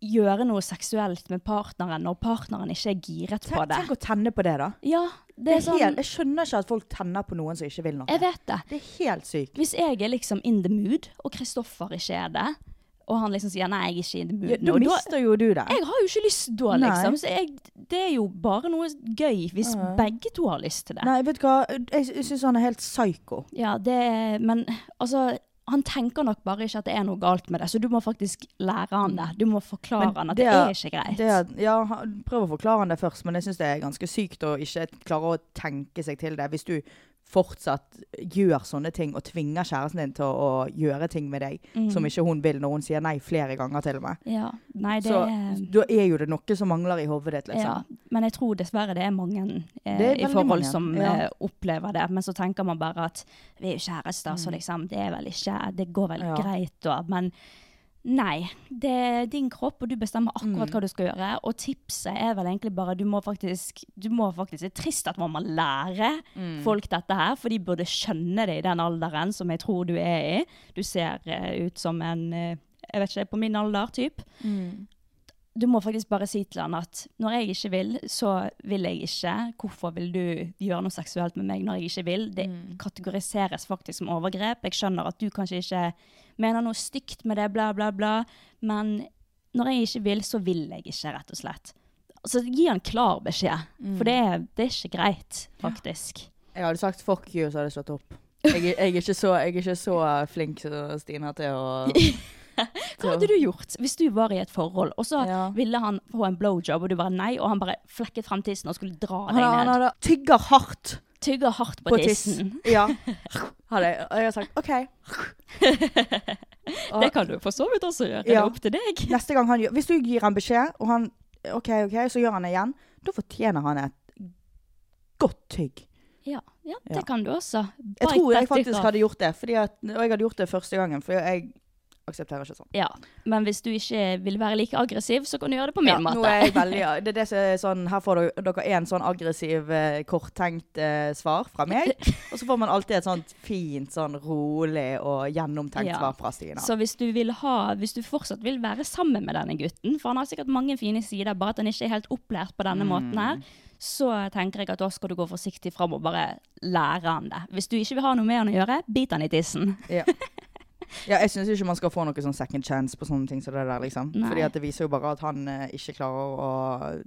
A: gjøre noe seksuelt med partneren når partneren ikke er giret på
B: Tenk,
A: det.
B: tenk å tenne på det, da.
A: Ja, det
B: Det
A: er
B: er helt,
A: sånn
B: jeg skjønner ikke at folk tenner på noen som ikke vil noe.
A: Jeg vet det.
B: Det er helt sykt.
A: Hvis jeg er liksom in the mood, og Kristoffer ikke er det, Og han liksom sier nei, jeg er ikke i
B: Ja,
A: mooden.
B: da
A: Og
B: mister jo du det.
A: jeg har jo ikke lyst da,
B: Nei.
A: liksom. Så jeg, det er jo bare noe gøy hvis
B: Ja.
A: begge to har lyst til det.
B: Nei, vet du hva? Jeg sy- syns han er helt psyko.
A: Ja, det er- Men altså han tenker nok bare ikke at det er noe galt med det, så du må faktisk lære han det. Du må
B: Men
A: forklare han at
B: det
A: det
B: er-
A: er, ikke greit.
B: Det er, ja, han- prøv å forklare han det først, men jeg syns det er ganske sykt å ikke klare å tenke seg til det. Hvis du fortsatt gjør sånne ting og tvinger kjæresten din til å gjøre ting med deg
A: Mm.
B: som ikke hun vil, når hun sier nei flere ganger til og med.
A: Ja, nei, det
B: Så
A: er
B: da er jo det noe som mangler i hodet ditt, liksom.
A: Ja, men jeg tror dessverre det er mange eh,
B: Det er
A: i
B: veldig
A: forhold
B: mange,
A: som
B: ja.
A: eh, opplever det. Men så tenker man bare at vi er jo kjærester, så liksom det er vel ikke Det går vel
B: Mm. Ja.
A: greit da. Men nei. Det er din kropp, og du bestemmer
B: Mm.
A: akkurat hva du skal gjøre. Og tipset er vel egentlig bare du må faktisk, du må faktisk Det er trist at man må lære
B: Mm.
A: folk dette her, for de burde skjønne det i den alderen som jeg tror du er i. Du ser eh, ut som en eh, jeg vet ikke, på min alder, typ Mm. du må faktisk bare si til han at når jeg ikke vil, så vil jeg ikke. Hvorfor vil du gjøre noe seksuelt med meg når jeg ikke vil? Det kategoriseres faktisk som overgrep. Jeg skjønner at du kanskje ikke mener noe stygt med det, bla, bla, bla. Men når jeg ikke vil, så vil jeg ikke, rett og slett. Så gi han klar beskjed, for det er, det er ikke greit, faktisk.
B: Jeg hadde sagt fuck you, så hadde jeg slått opp. Jeg, er- jeg, er ikke så, jeg er ikke så eh, flink som Stina til å
A: Hva hadde du gjort hvis du var i et forhold, og så
B: Ja.
A: ville han få en blowjob, og du bare nei, og han bare flekket frem tissen og skulle dra
B: Han,
A: deg
B: han,
A: ned?
B: hadde- tygger hardt
A: Tygger hardt på,
B: på
A: tissen.
B: tissen. Ja. Hadde jeg, og jeg har sagt OK. Og-
A: Det kan du for så vidt også gjøre. Det
B: Ja.
A: er opp til deg.
B: Neste gang han gjør Hvis du gir han beskjed, og han OK, OK, så gjør han det igjen, da fortjener han et godt tygg.
A: Ja, ja det
B: Ja.
A: kan du også.
B: Jeg
A: Bite
B: tror
A: that
B: jeg
A: dick
B: faktisk
A: off.
B: hadde gjort det, fordi at, og jeg hadde gjort det første gangen. For jeg aksepterer ikke sånn.
A: Ja, men hvis du ikke vil være like aggressiv, så kan du gjøre det på min
B: Ja,
A: måte.
B: nå er jeg veldig, ja, det er det som er sånn, her får dere- dere én sånn aggressiv, eh, korttenkt eh, svar fra meg. Og så får man alltid et sånt fint, sånn rolig og gjennomtenkt
A: Ja.
B: svar fra Stina.
A: Så hvis du, vil ha, hvis du fortsatt vil være sammen med denne gutten, for han har sikkert mange fine sider, bare at han ikke er helt opplært på
B: Mm.
A: denne måten her, så tenker jeg at da skal du gå forsiktig fram og bare lære han det. Hvis du ikke vil ha noe med han å gjøre, bit han i tissen.
B: Ja. ja, jeg syns ikke man skal få noe sånn second chance på sånne ting som det der, liksom.
A: Nei.
B: Fordi at det viser jo bare at han eh, ikke klarer å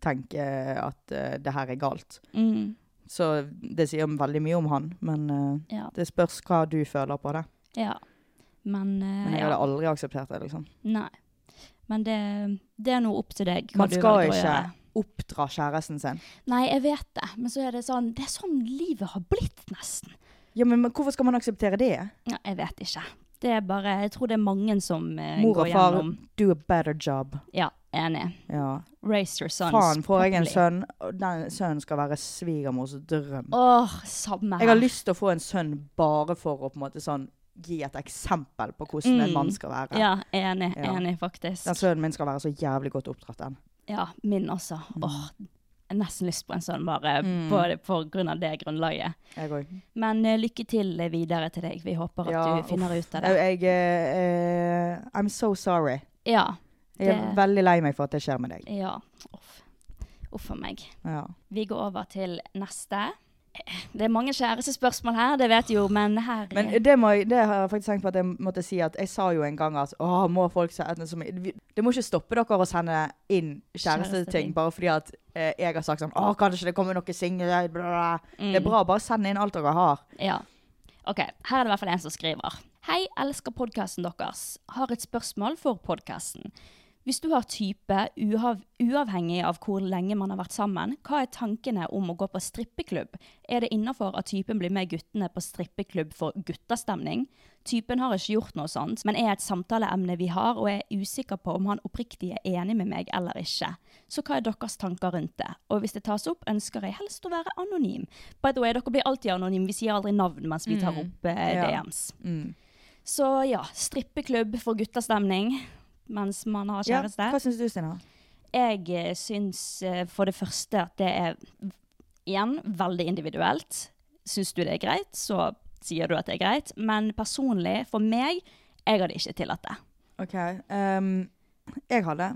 B: tenke at eh, det her er galt.
A: Mm,
B: Så det sier veldig mye om han, men eh,
A: ja,
B: det spørs hva du føler på det.
A: ja. Men, eh,
B: Men jeg
A: ja.
B: hadde aldri akseptert det, liksom.
A: Nei. Men det, det er noe opp til deg. hva
B: Man
A: du
B: skal
A: velger å
B: ikke
A: gjøre.
B: oppdra kjæresten sin.
A: Nei, jeg vet det, men så er det sånn Det er sånn livet har blitt, nesten.
B: Ja, men, men hvorfor skal man akseptere det?
A: Ja, jeg vet ikke. Det er bare Jeg tror det er mange som eh,
B: Mor
A: går
B: og far,
A: gjennom
B: do a better job.
A: Ja, enig.
B: Ja.
A: Raise your sons.
B: Faen, får jeg en
A: properly.
B: sønn, og den sønnen skal være svigermors drøm.
A: Åh, samme
B: Jeg har
A: her.
B: lyst til å få en sønn bare for å på en måte sånn gi et eksempel på hvordan en
A: Mm.
B: mann skal være.
A: Ja, enig.
B: Ja.
A: Enig, faktisk.
B: Den sønnen min skal være så jævlig godt oppdratt. Den.
A: Ja, min også.
B: Mm.
A: Åh, jeg har nesten lyst på en sånn, bare på, på grunn av det grunnlaget.
B: Jeg òg.
A: Men eh, lykke til videre til deg. Vi håper at
B: Ja,
A: du finner
B: uff.
A: ut av det.
B: Jeg, jeg eh, I'm so sorry.
A: Ja.
B: Jeg er
A: Det-
B: veldig lei meg for at det skjer med deg.
A: Ja. Uff. Uff a meg.
B: Ja.
A: Vi går over til neste. Det er mange kjærestespørsmål her, det vet jeg jo, men her
B: Men det, må jeg, det har jeg faktisk tenkt på at jeg måtte si at jeg sa jo en gang at åh, må folk se etter så mye Vi- Det må ikke stoppe dere å sende inn kjæresteting
A: Kjæresteting.
B: bare fordi at eh, jeg har sagt sånn åh, kan ikke det komme noen single? bla, bla, bla». Det er bra, bare send inn alt dere har.
A: Ja. Ok, her er det i hvert fall en som skriver. Hei, elsker podkasten deres. Har et spørsmål for podkasten. Hvis du har type, uav, uavhengig av hvor lenge man har vært sammen, hva er tankene om å gå på strippeklubb? Er det innafor at typen blir med guttene på strippeklubb for guttastemning? Typen har ikke gjort noe sånt, men er et samtaleemne vi har, og er usikker på om han oppriktig er enig med meg eller ikke. Så hva er deres tanker rundt det? Og hvis det tas opp, ønsker jeg helst å være anonym. By the way, dere blir alltid anonyme, vi sier aldri navn mens vi tar opp eh,
B: Mm. Ja.
A: DMs.
B: Mm.
A: Så ja, strippeklubb for guttastemning mens man har
B: Ja,
A: kjæreste.
B: hva syns du, Stina?
A: Jeg eh, syns eh, for det første at det er igjen veldig individuelt. Syns du det er greit, så sier du at det er greit. Men personlig, for meg, jeg hadde ikke tillatt det.
B: OK. ehm, jeg har det.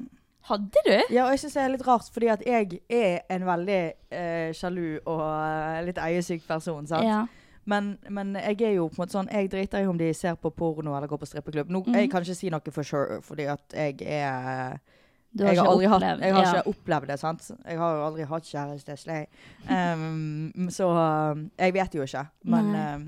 A: Hadde du?
B: Ja, og jeg syns det er litt rart, fordi at jeg er en veldig eh, sjalu og eh, litt eiesyk person. sant?
A: Ja.
B: Men, men jeg er jo på en måte sånn Jeg driter i om de ser på porno eller går på strippeklubb. Nå,
A: Mhm.
B: Jeg kan ikke si noe for sure, fordi at jeg er
A: Du har
B: jeg har,
A: ikke
B: aldri hatt,
A: opplevd-
B: jeg har
A: ja.
B: ikke opplevd det, sant? Jeg har jo aldri hatt kjæreste. slay. Um, så um, jeg vet jo ikke. Men,
A: Nei.
B: um,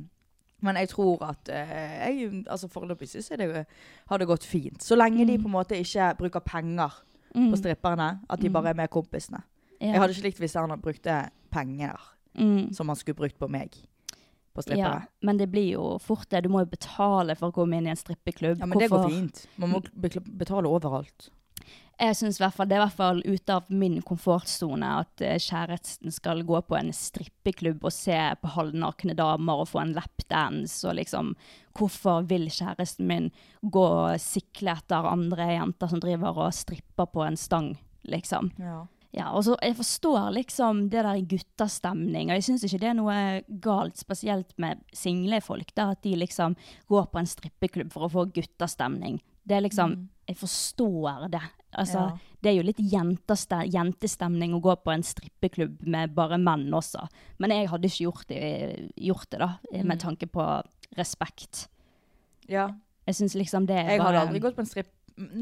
B: men jeg tror at uh, jeg, altså Foreløpig syns jeg det har det gått fint. Så lenge
A: Mhm.
B: de på en måte ikke bruker penger
A: Mm.
B: på stripperne. At de bare er med kompisene.
A: Ja.
B: Jeg hadde ikke likt hvis han hadde brukt penger
A: Mm.
B: som han skulle brukt på meg. På
A: Ja,
B: strippere.
A: men det blir jo fort det. Du må jo betale for å komme inn i en strippeklubb.
B: Ja, men det går
A: Hvorfor?
B: fint. Man må bekl- betale overalt.
A: Jeg synes i hvert fall, Det er i hvert fall ute av min komfortsone at eh, kjæresten skal gå på en strippeklubb og se på halvnakne damer og få en lapdance. og liksom, Hvorfor vil kjæresten min gå og sikle etter andre jenter som driver og stripper på en stang? liksom? Ja, og så Jeg forstår liksom det der guttastemning, og jeg syns ikke det er noe galt, spesielt med single folk, da, at de liksom går på en strippeklubb for å få guttastemning. Det er liksom Jeg forstår det. Altså,
B: Mm. Ja.
A: Det er jo litt jenteste, jentestemning å gå på en strippeklubb med bare menn også. Men jeg hadde ikke gjort det, gjort det da,
B: Mm.
A: med tanke på respekt.
B: Ja.
A: Jeg syns liksom det er
B: Jeg hadde
A: bare
B: aldri gått på en stripp...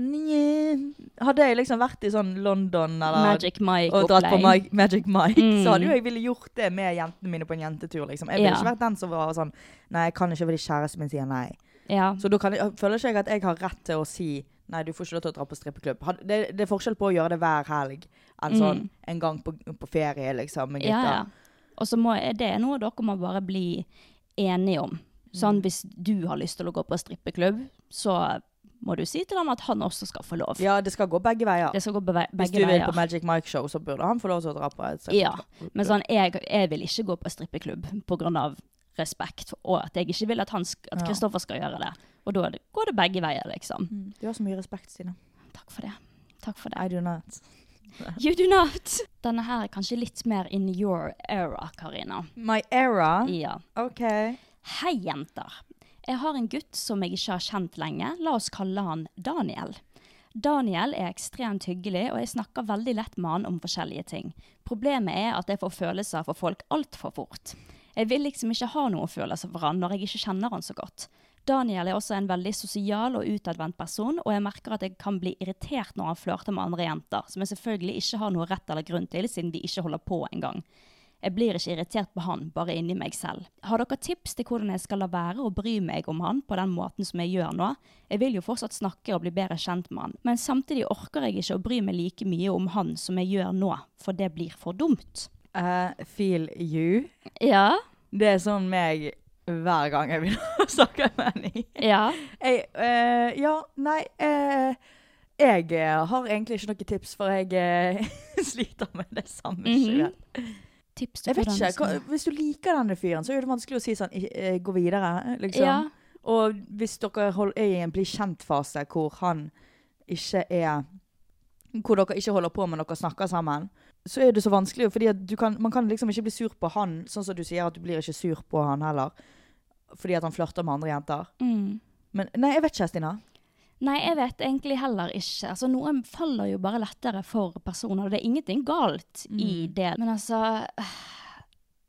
B: Nje. Hadde jeg liksom vært i sånn London eller
A: Magic Mike-opplegg.
B: og dratt på Mike, Magic Mike,
A: Mm.
B: så hadde jo jeg ville gjort det med jentene mine på en jentetur. liksom. Jeg ville
A: Ja.
B: ikke vært den som var sånn Nei, jeg kan ikke fordi kjæresten min sier nei.
A: Ja.
B: Så da kan jeg, føler ikke jeg at jeg har rett til å si Nei, du får ikke lov til å dra på strippeklubb. Had- Det, det er forskjell på å gjøre det hver helg enn sånn en gang på, på ferie, liksom, med
A: Mm. Ja,
B: gutta.
A: ja. Og så må det er noe dere må bare bli enige om.
B: Mm.
A: Sånn hvis du har lyst til å gå på strippeklubb, så må du si til ham at han også skal få lov.
B: Ja, det skal gå begge veier.
A: Det skal gå beve-
B: Hvis
A: begge
B: du vil på
A: veier.
B: Magic Mike Show, så burde han få lov til å dra på et
A: Ja,
B: strippeklubb.
A: men sånn, jeg, jeg vil ikke gå på strippeklubb pga. respekt, og at jeg ikke vil at han sk- at
B: Ja.
A: Kristoffer skal gjøre det. Og da er det- går det begge veier, liksom.
B: Mm. Du har så mye respekt, Stine.
A: Takk for det. Takk for det.
B: I do not.
A: You do not! Denne her er kanskje litt mer in your era, Karina.
B: My era.
A: Ja.
B: OK.
A: Hei, jenter. Jeg har en gutt som jeg ikke har kjent lenge. La oss kalle han Daniel. Daniel er ekstremt hyggelig, og jeg snakker veldig lett med han om forskjellige ting. Problemet er at jeg får følelser for folk altfor fort. Jeg vil liksom ikke ha noen følelser for han når jeg ikke kjenner han så godt. Daniel er også en veldig sosial og utadvendt person, og jeg merker at jeg kan bli irritert når han flørter med andre jenter, som jeg selvfølgelig ikke har noe rett eller grunn til, siden vi ikke holder på engang. Jeg blir ikke irritert på han, bare inni meg selv. Har dere tips til hvordan jeg skal la være å bry meg om han på den måten som jeg gjør nå? Jeg vil jo fortsatt snakke og bli bedre kjent med han, men samtidig orker jeg ikke å bry meg like mye om han som jeg gjør nå, for det blir for dumt.
B: I Eh, feel you.
A: Ja,
B: Det er sånn meg hver gang jeg begynner å snakke med Annie.
A: ja.
B: Jeg, eh, ja, nei eh, Jeg eh, har egentlig ikke noe tips, for jeg eh, sliter med det samme.
A: Mhm.
B: selv.
A: Tips til
B: Jeg vet
A: hvordan
B: ikke,
A: jeg skal-
B: hva, Hvis du liker denne fyren, så er det vanskelig å si sånn eh, Gå videre, liksom.
A: Ja,
B: Og hvis dere hold- er i en bli-kjent-fase hvor han ikke er Hvor dere ikke holder på, men dere snakker sammen, så er det så vanskelig. Fordi at du kan, man kan liksom ikke bli sur på han, sånn som du sier at du blir ikke sur på han heller. Fordi at han flørter med andre jenter.
A: mm.
B: Men nei, jeg vet ikke, Stina.
A: Nei, jeg vet egentlig heller ikke. Altså, noen faller jo bare lettere for personer, og det er ingenting galt
B: Mm.
A: i det. Men altså,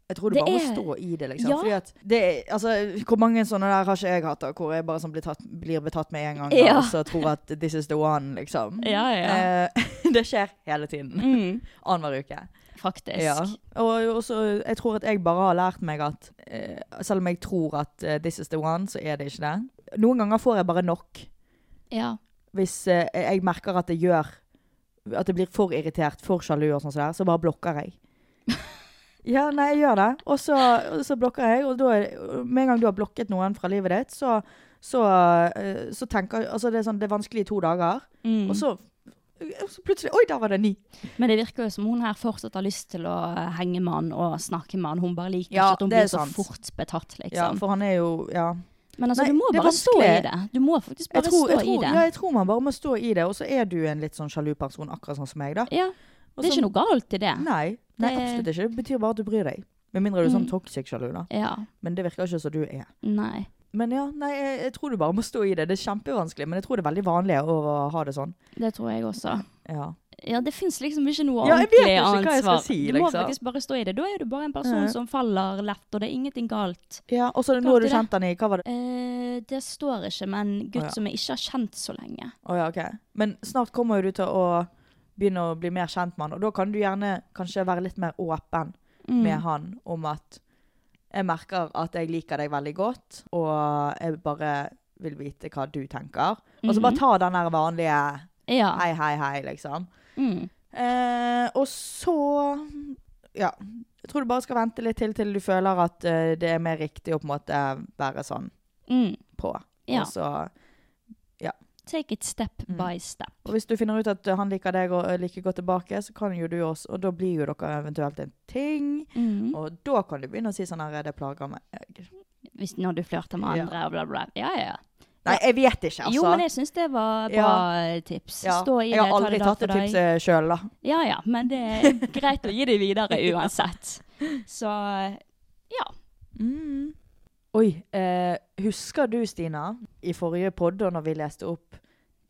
B: Jeg tror det,
A: Det
B: bare må
A: er-
B: stå i det, liksom.
A: Ja.
B: Fordi at det er, altså, hvor mange sånne der har ikke jeg hatt, da? Hvor jeg bare sånn blir, tatt, blir betatt med en gang, da,
A: Ja.
B: og så tror at this is the one, liksom.
A: Ja, ja.
B: Eh, det skjer hele tiden.
A: mm,
B: Annenhver uke.
A: faktisk.
B: Ja. Og også, jeg tror at jeg bare har lært meg at eh, selv om jeg tror at eh, this is the one, så er det ikke det. Noen ganger får jeg bare nok
A: ja.
B: hvis eh, jeg merker at det gjør At det blir for irritert, for sjalu og sånn som det er, så bare blokker jeg. Ja, nei, jeg gjør det. Og så, og så blokker jeg, og da er- med en gang du har blokket noen fra livet ditt, så, så, eh, så tenker Altså, det er, sånn, det er vanskelig i to dager,
A: Mm.
B: og så, og så plutselig Oi, der var det ni!
A: Men det virker jo som hun her fortsatt har lyst til å eh, henge med han og snakke med han. Hun bare liker
B: Ja,
A: ikke at hun
B: det er
A: blir så
B: sant.
A: fort betatt,
B: Ja,
A: liksom.
B: for han er jo Ja.
A: Men altså,
B: Nei,
A: du må
B: det er
A: bare stå i
B: vanskelig.
A: det. Du må faktisk
B: Jeg
A: bare
B: tror,
A: stå
B: jeg tror,
A: i det.
B: Ja, jeg tror man bare må stå i det, og så er du en litt sånn sjalu person, akkurat sånn som meg, da.
A: Ja,
B: Og
A: det er
B: så-
A: ikke noe galt i det.
B: Nei, nei
A: Det- Mm.
B: absolutt ikke. Det betyr bare at du bryr deg. Med mindre du er sånn toxic sjalu, da.
A: Ja,
B: Men det virker ikke som du er.
A: nei.
B: Men ja, nei, jeg, jeg tror du bare må stå i det. Det er kjempevanskelig, men jeg tror det er veldig vanlig å ha det sånn.
A: Det tror jeg også.
B: Ja.
A: Ja, det fins liksom ikke noe
B: Ja, jeg vet
A: ordentlig
B: ikke hva
A: annet
B: jeg skal
A: svar.
B: si,
A: Du må
B: liksom.
A: faktisk bare stå i det. Da er du bare en person
B: Ja.
A: som faller lett, og det er ingenting galt.
B: Ja, og så nå
A: Klart
B: har du
A: det.
B: kjent han i Hva var det?
A: Eh, det står ikke, men gutt
B: Å, ja.
A: som jeg ikke har kjent så lenge.
B: Å ja, ok. Men snart kommer jo du til å begynne å bli mer kjent med han, og da kan du gjerne kanskje være litt mer åpen
A: Mm.
B: med han om at jeg merker at jeg liker deg veldig godt, og jeg bare vil vite hva du tenker. Og så
A: Mhm.
B: bare ta den der vanlige
A: Mm. Ja.
B: hei, hei, hei, liksom.
A: Mm.
B: Eh, og så Ja. Jeg tror du bare skal vente litt til til du føler at eh, det er mer riktig å på en måte være sånn
A: Mm.
B: på.
A: Ja.
B: Og, så,
A: Take it step
B: Mm.
A: by step.
B: og hvis du finner ut at han liker deg og eh, liker godt tilbake, så kan jo du også Og da blir jo dere eventuelt en ting.
A: Mm.
B: Og da kan du begynne å si sånn her Det plager meg. Jeg-
A: Hvis, når du flørter med
B: Ja.
A: andre og bla, bla. Ja, ja.
B: Nei, jeg vet ikke, altså.
A: Jo, men jeg syns det var bra tips.
B: Ja,
A: Stå i
B: jeg har
A: det, ta
B: aldri
A: det dag
B: tatt
A: for
B: det
A: dag.
B: tipset sjøl, da.
A: Ja ja, men det er greit å gi det videre uansett. Så ja.
B: Mm. Oi, eh, husker du, Stina, i forrige podd da når vi leste opp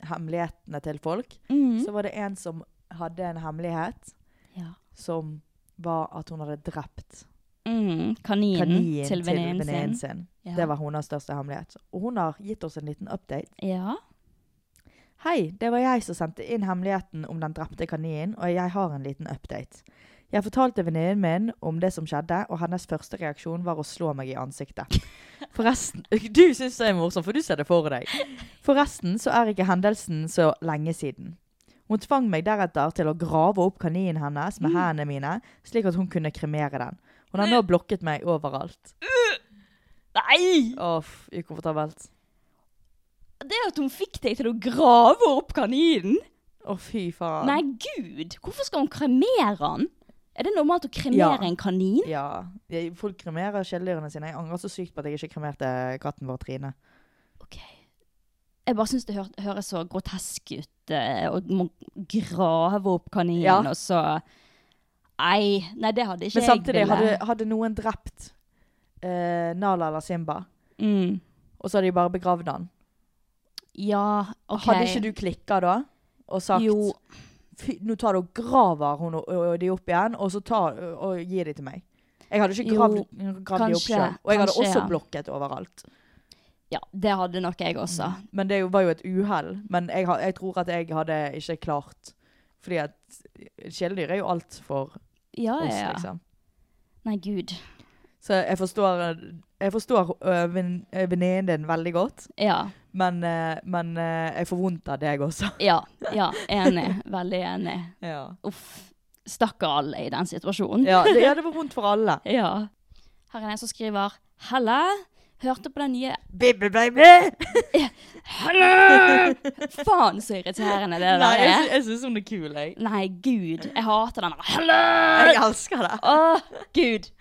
B: hemmelighetene til folk,
A: Mm.
B: så var det en som hadde en hemmelighet
A: ja.
B: som var at hun hadde drept
A: Mm. Kaninen,
B: kaninen
A: til venninnen sin.
B: sin.
A: Ja.
B: Det var hennes største hemmelighet. Og hun har gitt oss en liten update.
A: ja.
B: Hei, det var jeg som sendte inn hemmeligheten om den drepte kaninen, og jeg har en liten update. Jeg fortalte venninnen min om det som skjedde, og hennes første reaksjon var å slå meg i ansiktet. Forresten Du syns det er morsomt, for du ser det for deg. Forresten så er ikke hendelsen så lenge siden. Hun tvang meg deretter til å grave opp kaninen hennes med hendene mine, slik at hun kunne kremere den. Hun har nå blokket meg overalt.
A: Nei!
B: Åh, ukomfortabelt.
A: Det at hun fikk deg til å grave opp kaninen!
B: Å, fy faen.
A: Nei, gud! Hvorfor skal hun kremere den? Er det normalt å kremere
B: Ja.
A: en kanin?
B: Ja. jeg- Folk kremerer kjæledyrene sine. Jeg angrer så sykt på at jeg ikke kremerte katten vår, Trine.
A: Ok. Jeg bare syns det hør, høres så grotesk ut eh, å må grave opp kaninen,
B: Ja.
A: og så Nei, nei, det hadde ikke
B: Men
A: jeg
B: samtidig, hadde, hadde noen drept eh, Nala eller Simba,
A: mm.
B: og så hadde de bare begravd han,
A: Ja, OK.
B: hadde ikke du klikka da? Og sagt
A: Jo.
B: Fy, nå tar du og graver hun og, og, og de opp igjen, og så tar, og gir de til meg. Jeg hadde ikke
A: Jo,
B: gravd, gravd de opp
A: kanskje,
B: sjøl. Og jeg hadde
A: kanskje,
B: også
A: ja.
B: blokket overalt. Mm.
A: Ja, det hadde nok jeg også.
B: Men det er jo- var jo et uhell. Men jeg, har- jeg tror at jeg hadde ikke klart Fordi at kjæledyr er jo alt for
A: Ja,
B: oss,
A: ja, ja.
B: liksom.
A: Nei, gud.
B: Så jeg forstår, jeg forstår øh, venn- øh, venninnen din veldig godt,
A: Ja.
B: men, øh, men øh, jeg får vondt av deg også.
A: Ja. ja enig. Veldig enig.
B: Ja,
A: Uff. Stakkar alle i den situasjonen.
B: det, ja, det var vondt for alle.
A: ja. Her er en som skriver Halla! Hørte på den nye
B: Baby, baby!
A: Halla! Faen så irriterende det
B: Nei,
A: der
B: jeg,
A: er.
B: sy- jeg syns hun er kul, jeg.
A: Nei, gud. Jeg hater den der. Halla!
B: Jeg elsker det.
A: Å, gud.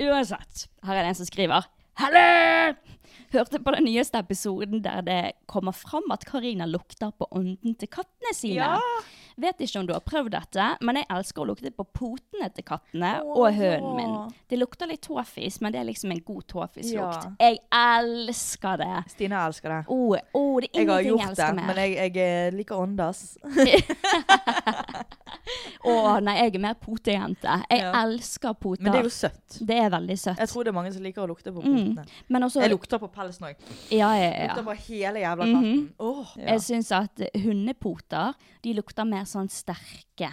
A: Uansett, her er det en som skriver. Hallo! Hørte på den nyeste episoden der det kommer fram at Karina lukter på ånden til kattene sine. Vet ikke om du har prøvd dette, men jeg elsker å lukte på potene til kattene og hønen min. Det lukter litt tåfis, men det er liksom en god tåfislukt. Jeg elsker det.
B: Stina elsker det.
A: Å, å, det er
B: Jeg har
A: ingenting jeg
B: gjort det,
A: elsker mer.
B: men jeg, jeg eh, liker åndas.
A: Å nei, jeg er mer potejente. Jeg elsker poter.
B: Men det er jo søtt.
A: Det er veldig søtt.
B: Jeg tror det er mange som liker å lukte på potene.
A: Men også
B: Jeg lukter på pelsen òg.
A: Ja, ja, ja.
B: Lukter på hele jævla katten. Åh.
A: Jeg syns at hundepoter de lukter mer sånn sterke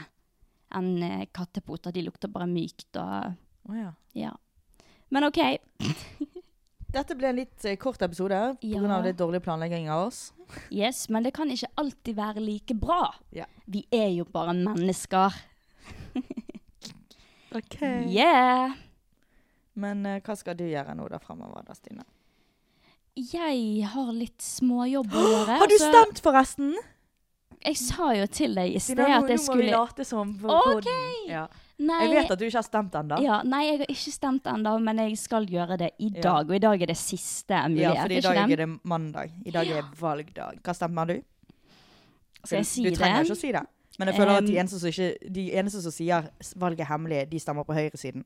A: enn eh, kattepoter. De lukter bare mykt og
B: Å, ja.
A: Ja. Men OK.
B: Dette ble en litt eh, kort episode
A: Ja.
B: pga. av litt dårlig planlegging av oss.
A: Yes, men det kan ikke alltid være like bra.
B: Ja.
A: Vi er jo bare mennesker.
B: Okay.
A: Yeah!
B: Men eh, hva skal du gjøre nå da fremover da, Stine?
A: Jeg har litt småjobb å gjøre.
B: Har du
A: så-
B: stemt forresten?
A: Jeg sa jo til deg i sted
B: Stine, nå,
A: at
B: nå må
A: jeg
B: vi
A: skulle
B: late som på
A: Ok.
B: podden. Ja.
A: Nei,
B: Jeg vet at du ikke har stemt ennå.
A: Ja, nei, jeg har ikke stemt ennå, men jeg skal gjøre det i
B: Ja.
A: dag. Og i dag er det siste
B: Ja,
A: mulighet.
B: for i
A: ikke
B: dag
A: det?
B: er det mandag. I dag er valgdag. Hva stemmer du?
A: Skal jeg si
B: du trenger ikke å
A: det?
B: si det. Men jeg føler at de
A: Em.
B: eneste som, ikke, de eneste som sier s- valget er hemmelig, de stemmer på høyresiden.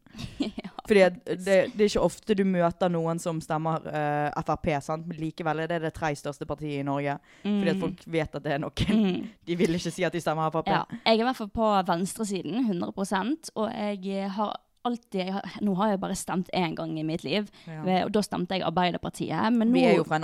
B: Fordi at det, det er ikke ofte du møter noen som stemmer eh, Frp, sant? men likevel er det det tre største partiet i Norge. Fordi at folk vet at det er noen.
A: Mm.
B: De vil ikke si at de stemmer Frp.
A: Ja, jeg er i hvert fall på venstresiden, 100 og jeg eh, har alltid jeg har, Nå har jeg bare stemt én gang i mitt liv,
B: Ja.
A: og da stemte jeg Arbeiderpartiet. Men nå,
B: Vi er jo fra en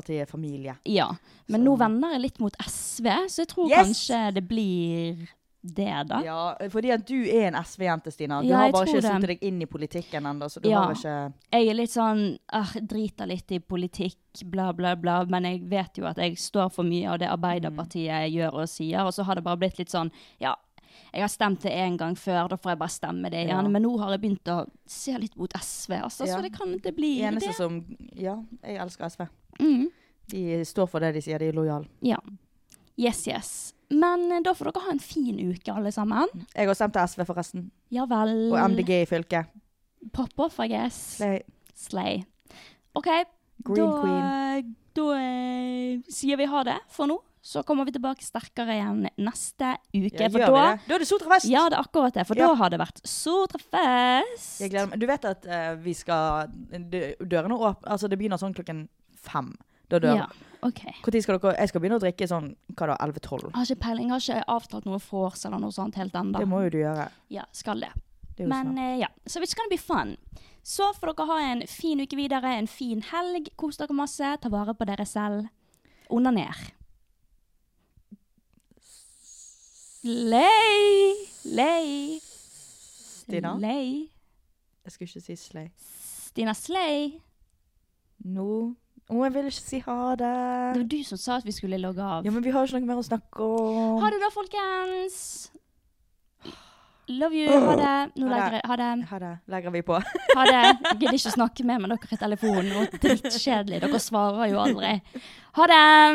B: Arbeiderpartiet-familie.
A: ja, men nå vender jeg litt mot SV, så jeg tror
B: Yes!
A: kanskje det blir det, da.
B: Ja, fordi at du er en SV-jente, Stina. Du
A: Ja,
B: har
A: jeg
B: bare
A: tror
B: ikke
A: det.
B: satt deg inn i politikken ennå, så du
A: Ja.
B: har ikke
A: Jeg er litt sånn ah, driter litt i politikk, bla, bla, bla. Men jeg vet jo at jeg står for mye av det
B: Mm.
A: Arbeiderpartiet gjør og sier. Og så har det bare blitt litt sånn Ja, jeg har stemt det én gang før, da får jeg bare stemme det igjen.
B: Ja.
A: Men nå har jeg begynt å se litt mot SV, altså.
B: Ja.
A: Så det kan det bli
B: De eneste
A: det.
B: som Ja, jeg elsker SV.
A: Mm.
B: De står for det de sier, de er lojale.
A: Ja. Yes, yes. Men eh, da får dere ha en fin uke, alle sammen.
B: Jeg har stemt til SV, forresten.
A: Ja vel.
B: Og MDG i fylket.
A: Pop off, I guess.
B: Slay.
A: Slay. OK,
B: Green
A: da,
B: Queen.
A: da eh, sier vi ha det for nå. Så kommer vi tilbake sterkere igjen neste uke.
B: Ja,
A: for
B: gjør vi
A: da,
B: det? Da er det Sotra Vest!
A: ja, det er akkurat det. For
B: Ja.
A: da har det vært Sotrafest.
B: Jeg gleder meg. Du vet at eh, vi skal dø- Dørene åpner Altså, det begynner sånn klokken fem. Da dør
A: Ja, OK.
B: Hvor tid skal dere Jeg skal begynne å drikke sånn hva da, 11-12?
A: Jeg har ikke peiling. Jeg har ikke avtalt noe vors eller noe sånt helt ennå.
B: Det må jo du gjøre.
A: Ja, skal det.
B: Det er jo
A: Men
B: snart.
A: eh, ja, så it's gonna be fun. Så får dere ha en fin uke videre, en fin helg. Kos dere masse, ta vare på dere selv. Onaner. Lei, lei,
B: Stina?
A: lei.
B: Jeg skulle ikke si slay.
A: Stina Slei.
B: Nå Å, jeg vil ikke si ha det.
A: Det var du som sa at vi skulle logge av.
B: Ja, men vi har ikke noe mer å snakke om.
A: Ha det da, folkens. Love you. Ha det. Nå
B: Ha det.
A: legger jeg Ha det.
B: Ha det. Legger vi på.
A: Ha det. Jeg Gidder ikke å snakke mer med dere i telefonen. Og drittkjedelig. Dere svarer jo aldri. Ha det.